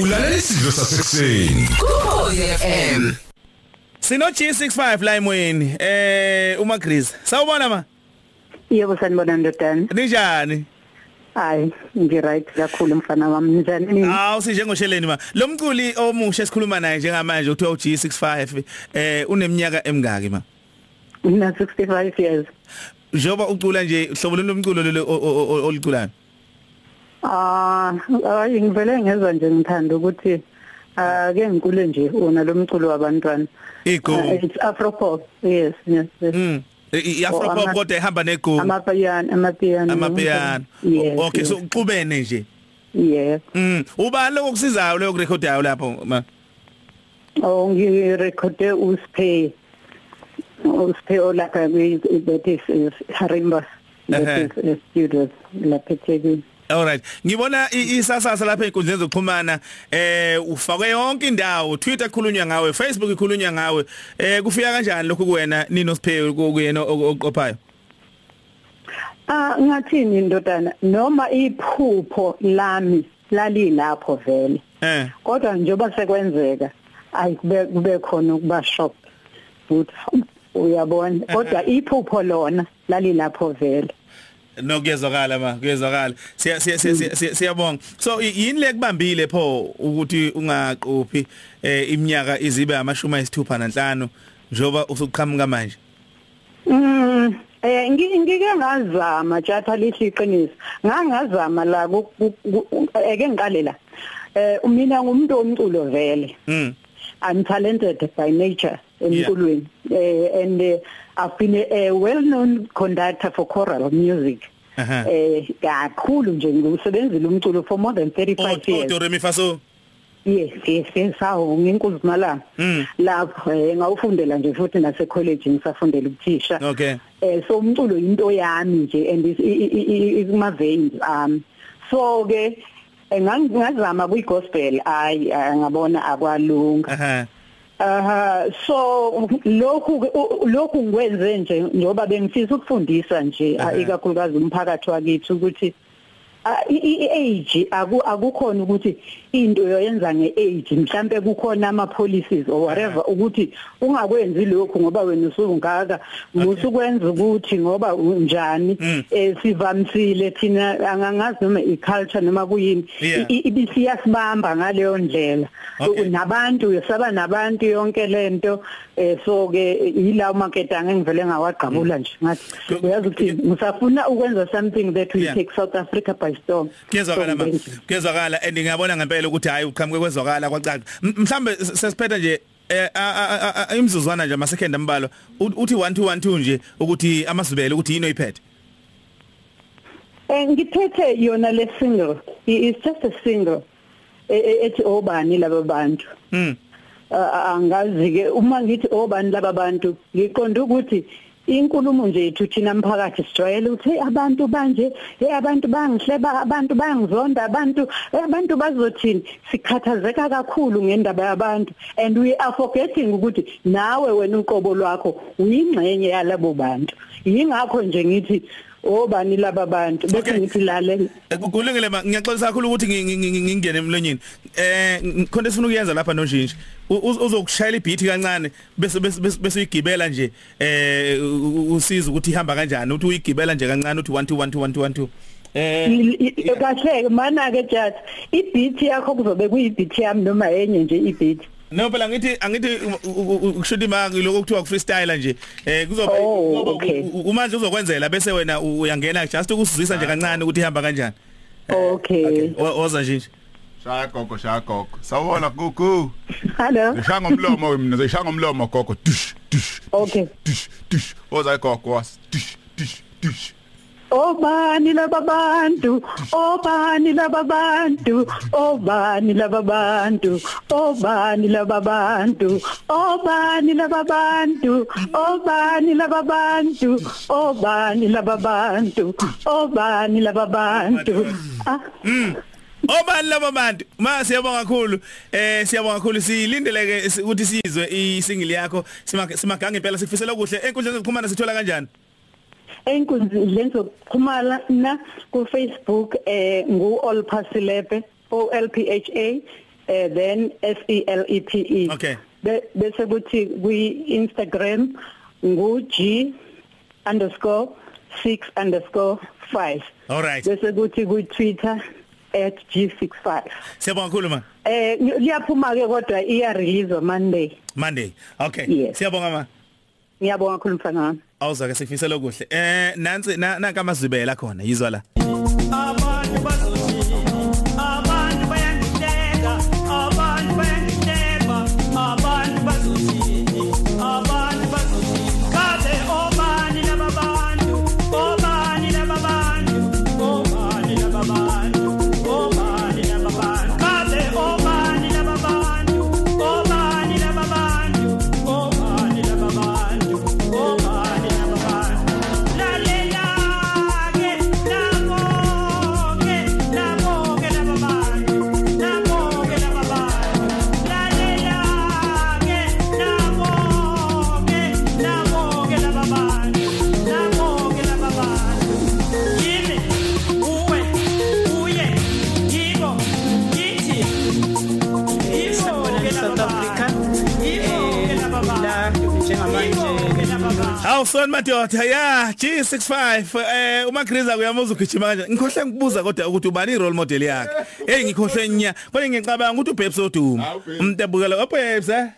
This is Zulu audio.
ulalela isidlo sasekuseni Ukhozi FM. Sino G65 la emoyeni. Eh uma Greece. Sawubona ma. Yebo sanibona ndodana. Ninjani? Hayi, ngi right kakhulu mfana wami. Njani nini? Awu sinjengosheleni ma. Lo mculi omusha esikhuluma naye njengamanje uthiwa uG65 eh uneminyaka emingaki ma. Ngina 65 years. Njoba ucula nje hlobo lomculo lelo o- o- o- oliculayo. Ah, hayi ngivele ngezwa nje ngithanda ukuthi ake ngikule nje una lo mculo wabantwana. Ah, Igqobo. It's Afro pop. Yes, yes. yes. Mm. Iafro Oh, pop ama- kodwa ihamba negqobo. Amapiano, amapiano. Amapiano. Yes. Okay so yes, uxubene nje. yes. Mm. Uba lokho kusizayo lokho recordayo lapho ma. Oh, ngirekhode uSpay. uSpay olapha kwi- that is is Harimba. That Ehhe. is uh, studios lapha eThekwini. Alright ngibona i- isasasa lapha einkundleni zokuxhumana eh ufake yonke indawo Twitter khulunywa ngawe Facebook ikhulunywa ngawe eh kufika kanjani lokhu kuwena Nino Siphewe kuyena oqophayo Ah ngathini ndodana noma iphupho lami lalilapho vele eh kodwa njoba sekwenzeka ayikube kube khona ukuba shock futhi hawu, uyabona kodwa iphupho lona lalilapho vele nokuyezwakala ma kuyezwakala siya siya siya- siya- siya- siyabonga so i- yini lekubambile pho ukuthi ungaqophi eh iminyaka izibe amashumi ayisithupha nanhlanu njoba usuqhamuka manje Mm eh ngi- ngike ngazama tjatha lihle iqiniso. Ngangazama la ku- ku- ku- eke ngiqale la. Eh mina ngumuntu omculo vele. mm I'm talented by nature Yeah. emculweni. Eh and uh, I've been a, a well-known conductor for choral music. Aha. Eh kakhulu nje ngikusebenzile umculo for more than 35 o years. do re mi fa so Yes, yes, yes, hawo nginkunzi malanga. Mm. Lapho eh, ngawufundela nje futhi nase college ngisafundela ukuthisha. okay eh so umculo into yami nje and ikuma veins um eh, so ke ngangizama kwi gospel ayi ah, ngabona akwalunga aha aha so lokhu ke- u- lokhu ngikwenze nje njoba bengifisa ukufundisa nje ah, Aha. ikakhulukazi umphakathi wakithi ukuthi ah, i- i- i-age aku- akukhona ukuthi into yoyenza nge-age mhlambe kukhona ama-policies or whatever ukuthi ungakwenzi lokhu ngoba wena usungaka musukwenza ukuthi ngoba unjani Mm. eh, sivamsile thina angangazi noma i-culture noma kuyini Yeah. i- i- ibisiyasibamba ngaleyo ndlela Okay. nabantu yosaba nabantu yonke lento eh so ke yilawo maketa ngengivele ngawagqabula nje ngathi Go- uyazi ukuthi ngisafuna ukwenza something that will Yeah. take South Africa by storm Kuyezwakala ma. Kuyezwakala and ngiyabona ngempela ukuthi hayi uqhamuke kwezwakala kwacaca. M- Mhlambe s- sesiphetha nje eh a- a- a- a- imzuzwana nje ama second ambalwa U- uthi 1 2 1 2 nje ukuthi amasibele ukuthi yini oyiphethe. Eh ngiphethe yona le single I- it's just a single E- e- ethi obani laba bantu Mm. Ah, angazi ke uma ngithi obani laba bantu ngiqonda ukuthi inkulumo nje yethu thina mphakathi sijwayele ukuthi hey abantu banje hey abantu bangihleba abantu bayangizonda abantu hey, abantu bazothini sikhathazeka kakhulu ngendaba yabantu and we are forgetting ukuthi nawe wena uqobo lwakho uyingxenye yalabo bantu yingakho nje ngithi obani laba bantu bese Okay. ngithi lale Eh, ku- Kulungile ma ngiyaxolisa kakhulu ukuthi ngi- ngi- ngi- ngingene emlonyeni. Eh ng- khona esifuna ukuyenza lapha nonjinji. U- uz- Uzokushayela ibeat kancane bese bese bese- bese uyigibela nje eh u- u- usiza ukuthi ihamba kanjani uthi uyigibela nje kancane uthi 1 2 1 2 1 2 1 2. Eh kahle mana ke jathi ibeat yakho kuzobe kuyibeat yami noma enye nje ibeat No phela ngithi angithi kushuthi mangi lokho kuthiwa ku freestyle nje eh kuzoba Oh, ngoba okay. u- u- manje uzokwenzela bese wena u- uyangena just ukusizisa nje kancane ukuthi ihamba kanjani Ah, Okay. O- oza nje nje shaya gogo shaya gogo sawubona gugu Hello. ngishaya ngomlomo mina ngishaya ngomlomo gogo dush dush Okay. dush dush oza gogo was dush dush dush Obani lababantu, obani lababantu, obani lababantu, obani lababantu, obani lababantu, obani lababantu, obani lababantu, obani lababantu. Ah, Obani Oh, laba bantu ma siyabonga kakhulu eh siyabonga kakhulu silindeleke si- ukuthi sizwe isingle yakho Sima- simagange impela sikufisela kuhle enkundleni zokuxhumana sithola kanjani enkunzi lenzo khumala na ku Facebook eh ngu Olphasilepe O L P H A eh then S E L E P E Okay. Be- bese kuthi kwi Instagram ngu G underscore 6 underscore 5 All right. bese kuthi kwi Twitter at @g65 Siyabonga kakhulu ma. eh ngi- liyaphuma ke kodwa iya release Monday Monday. Okay. Yes. Siyabonga ma. ngiyabonga kakhulu mfana wami Awuzwa ke sikufisela okuhle. Eh nansi na- nanka amazibela khona yizwa la. abantu bazothi abantu bayangiteka abantu bayangiteka abantu bazothi abantu bazothi kabe obani laba bantu obani laba bantu obani laba bantu obani laba bantu kabe obani laba bantu obani laba bantu obani laba bantu obani laba bantu lalelake laboke laboke lababantu laboke lababantu lalelake laboke laboke lababantu laboke lababantu yimi uwe uye yibo yithi Sawubona, South Africa. Yibo-ke laba bantu. la njengamanje Yibo-ke laba bantu. Awusona madoda ya G65 eh uma Griza kuyamuza ugijima manje ngikhohle ngibuza kodwa ukuthi ubani i role Eh, model yakhe hey ngikhohle nya kodwa ngicabanga ukuthi uBebs oduma Hawu, Babes. umuntu ebukela uBebs eh